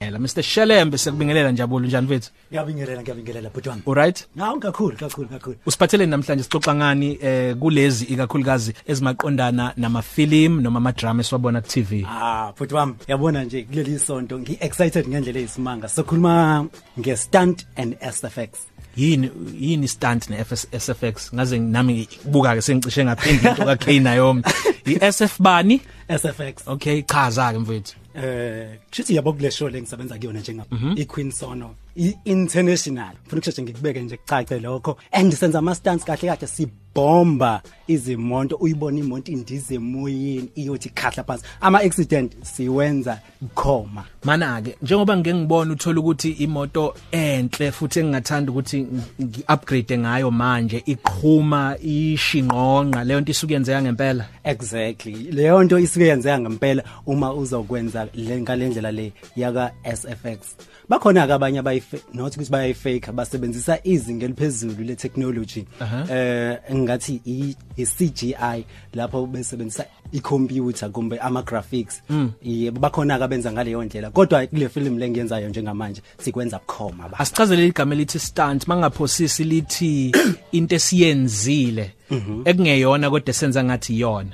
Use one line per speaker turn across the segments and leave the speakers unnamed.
Ela Mr Shelembe sekubingelela Njabulu njani mfethu?
Ngiyabingelela ngiyabingelela bhotwana.
Alright?
Nawu kakhulu kakhulu kakhulu.
Usiphatheleni namhlanje sixoxa ngani eh kulezi ikakhulukazi ezimaqondana namafilimu noma ama drama esiwabona ku TV.
Ah bhotwami yabona nje kuleli sonto ngi excited ngendlela eyisimanga. Sokhuluma nge stunt and SFX.
Yini yini stunt ne FS SFX ngaze nami ngibuka ke sengicishe ngaphindi into ka K Naomi. I SF bani?
SFX.
Okay chaza ke mfethu.
Eh chithi yabo kule show lengisebenza kuyona njengapha i Queen Sono i international. Ngifuna ukusheshe ngikubeke nje kucace lokho. And senza ama stunts kahle kahle sibomba izimoto uyibona imoto indize emoyeni iyothi khahla phansi. Ama accident siwenza bukhoma.
Mana ke njengoba ngeke ngibone uthola ukuthi imoto enhle futhi engingathanda ukuthi ngiupgrade ngayo manje iqhuma ishinqonqa leyo nto isuke yenzeka ngempela.
Exactly. Leyo nto isuke yenzeka ngempela uma uzokwenza le ngalendlela le yaka SFX. Bakhona ke abanye abayi not ukuthi bayayifake basebenzisa izinga eliphezulu le technology.
Aha.
Eh ngathi i i CGI lapho besebenzisa icomputer kumbe ama graphics. Yebo bakhona ke benza ngale yondlela. Kodwa kule film lengiyenzayo njengamanje sikwenza bukhoma ba.
asichazele igama elithi stunt mangaphosisi lithi into esiyenzile ekungeyona kodwa esenza ngathi iyona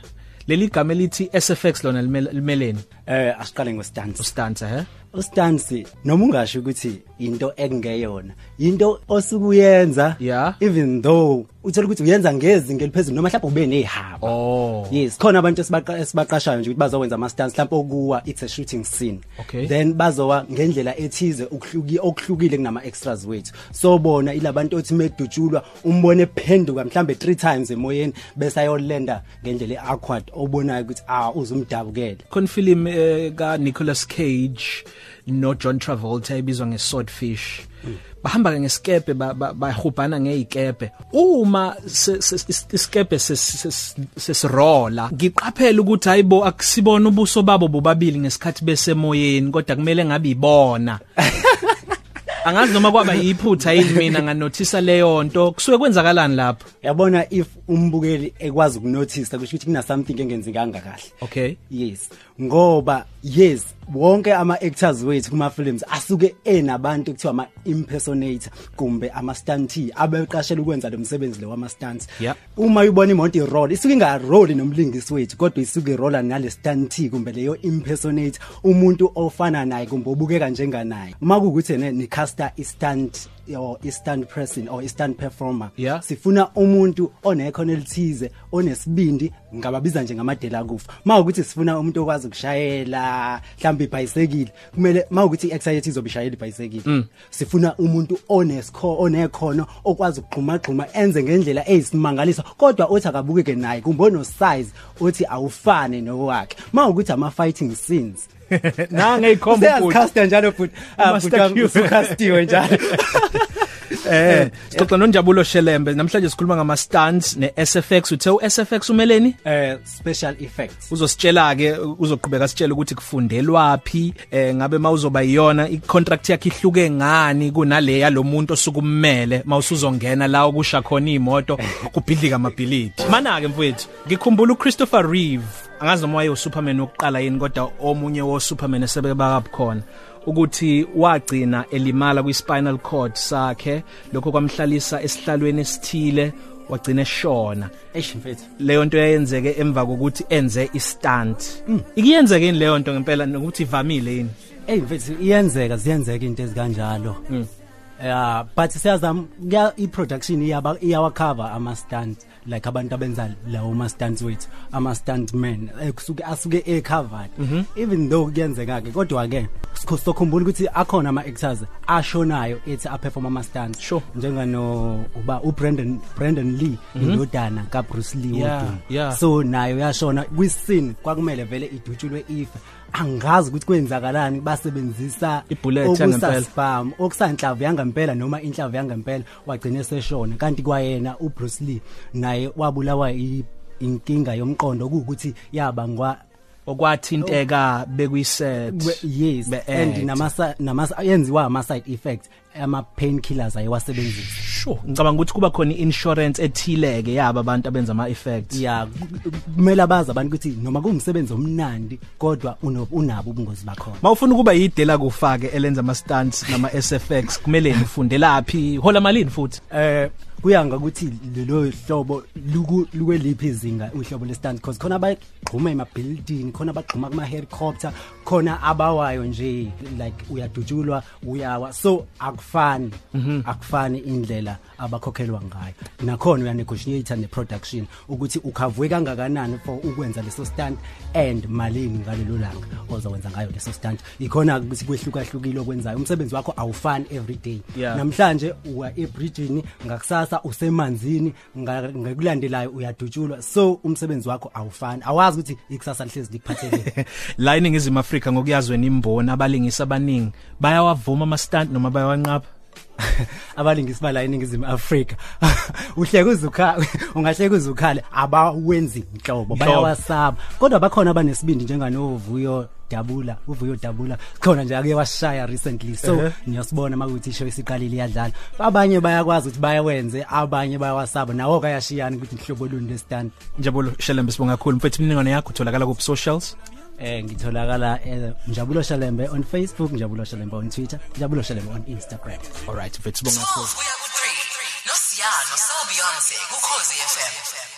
leli gama elithi SFX lona limel- limeleni
Eh asiqale ngo stunts.
stunt eh? ehe
ustansi noma ungasho ukuthi into ekungeyona into osukuyenza
Yeah.
even though uthola ukuthi uyenza ngezinga eliphezulu noma mhlawumbe ube nehaba
oh
yes khona abantu esibaqa- esibaqashayo nje ukuthi bazokwenza ama stunts mhlawumbe okuwa it's a shooting scene
Okay.
then bazowa ngendlela ethize okuhluki okuhlukile kunama extras wethu so bona ilabantu othi medutshulwa umbone ephenduka mhlambe 3 times emoyeni bese ayolenda ngendlela awkward obonayo ukuthi ah uzumdabukele
konfilm ka Nicolas eh, Cage no John Travolta ebizwa nge Swordfish bahamba ke ngesikepe ba- ba- bahubhana ngeikepe uma se- se- is- isikepe sesirola ngiqaphela ukuthi hayibo akusibona ubuso babo bobabili ngesikhathi besemoyeni kodwa kumele ngabe ibona angazi noma kwaba yiphutha yini mina nganothisa leyo nto kusuke kwenzakalani lapho
yabona if umbukeli ekwazi ukunothisa kusho ukuthi kuna something engenzekanga kahle
okay
yes ngoba yes wonke ama actors wethu kuma films asuke enabantu kuthiwa ama impersonator kumbe ama stuntee abeqashela ukwenza lo msebenzi lo wama stunts
Yeah.
uma uyibona imoto iroll isuke inga roll nomlingisi wethu kodwa isuke irolla nale stuntee kumbe leyo impersonator umuntu ofana naye kumbe obukeka njenganaye uma kuukuthi ene ni caster i stunt or i stunt person or i stunt performer
Yeah.
sifuna umuntu onekhono elithize onesibindi ngababiza njengamadela kufa mawukuthi sifuna umuntu okwazi ukushayela mhlawumbe ibhayisekile kumele mawukuthi i-exercise izobe ishayela ibhayisekile sifuna umuntu onesikho onekhono okwazi ukugxumagxuma enze ngendlela eyisimangaliso kodwa othi akabukeke naye kumbe onosize othi awufane nowakhe mawukuthi ama-fighting scenes
nanga ikhombo
seyazikhasta njalo futhi Ah,
Master
futhi wami,
Q.
usukhastiwe njalo
Eh, sixoxa noNjabulo Shelembe. Namhlanje sikhuluma ngama stunts neSFX. Uthe uSFX umeleni?
eh special effects
Uzositshela ke uzoqhubeka sitshele ukuthi kufundelwapi, eh ngabe mawuzoba iyona icontract yakhe ihluke ngani kunale yalomuntu osukumele mawusuzongena la okusha khona imoto kubhidlika amabhilidi. Mana ke mfowethu, ngikhumbula uChristopher Reeve, angazi noma waye uSuperman wokuqala yini kodwa omunye woSuperman esebeba khona. ukuthi wagcina elimala kwispinal cord sakhe lokho kwamhlalisa esihlalweni esithile wagcina eshona
eish mfethu
leyo nto yayenzeke emva kokuthi enze istunt
Mm.
ikiyenzeke yini leyo nto ngempela nokuthi ivamile yini
Ey mfethu iyenzeka ziyenzeka into ezikanjalo. Mhm. Yeah, but siyazama kuya- i-production iyaba iyawakhava ama stunts like abantu abenza lawo ma stunts wethu ama stuntmen ekusuke asuke ecovered even though kuyenzeka ke kodwa ke sikhosikhumbula ukuthi akhona ama actors ashonayo ethi a perform ama stunts
Sure.
njengano uba u Brandon Brandon Lee indodana ka Bruce Lee
Yeah,
wodwa.
yeah.
so nayo yashona kwisini kwakumele vele idutshulwe ife angazi ukuthi kwenzakalani basebenzisa
Ibullet yangempela.
okusaspam okusanhlamvu yangempela noma inhlamvu yangempela wagcina eseshona kanti kwayena uBruce Lee naye wabulawa i- inkinga yomqondo kuwukuthi yabangwa
okwathinteka bekuyiset
Oh. We- yes and namasa namasa yenziwa ama side effects ama painkillers ayiwasebenzisi
sure ngicabanga ukuthi kuba khona insurance ethileke yaba abantu abenza ama effects
ya kumele abazi abantu ukuthi noma kungumsebenzi omnandi kodwa uno- unabo ubungozi bakhona
mawufuna ukuba yidela kufake elenza ama stunts nama SFX kumele nifundelaphi hola malini futhi
eh kuya ngokuthi lelo hlobo luku- lukweliphi izinga uhlobo lestand cause khona abagxuma ema-building khona abagxuma kuma-helicopter khona abawayo nje like uyadutshulwa uyawa so akufani akufani indlela abakhokhelwa ngayo nakhona uyanegotiate ne-production ukuthi ukhavuke kangakanani for ukwenza leso stunt and malini ngalelo langa ozowenza ngayo leso stunt ikhona ukuthi kwehlukahlukile okwenzayo umsebenzi wakho awufani every day
Yeah.
namhlanje uwa ebridgini ngakusasa usemanzini nga- ngekulandelayo uyadutshulwa so umsebenzi wakho awufani awazi ukuthi ikusasa lihlezi likuphatheleni
la iningizimu Afrika ngokuyazweni imbona abalingisi abaningi bayawavuma ama stunt noma bayawanqapa
abalingisi bala eningizimu afrika uhleke uzukhala ungahleke uzukhala abawenzi nhlobo
Nhlobo.
bayawasaba kodwa bakhona abanesibindi njenganovuyo dabula uvuyo dabula khona nje ake washaya recently so uh -huh. niyasibona makuthi isho isiqalile iyadlala abanye bayakwazi ukuthi bayawenze abanye bayawasaba nawo kayashiyana ukuthi mhlobo luni lestandi
njabulo shelembe sibonga kakhulu mfethu imniningwane yakho utholakala ku socials
eh ngitholakala eh, Njabulo Shalembe on Facebook Njabulo Shalembe on Twitter Njabulo Shalembe on Instagram
all right mfethu sibonga kakhulu
12 kuya ku-3 nosiyano sobeyonce kukhozi fm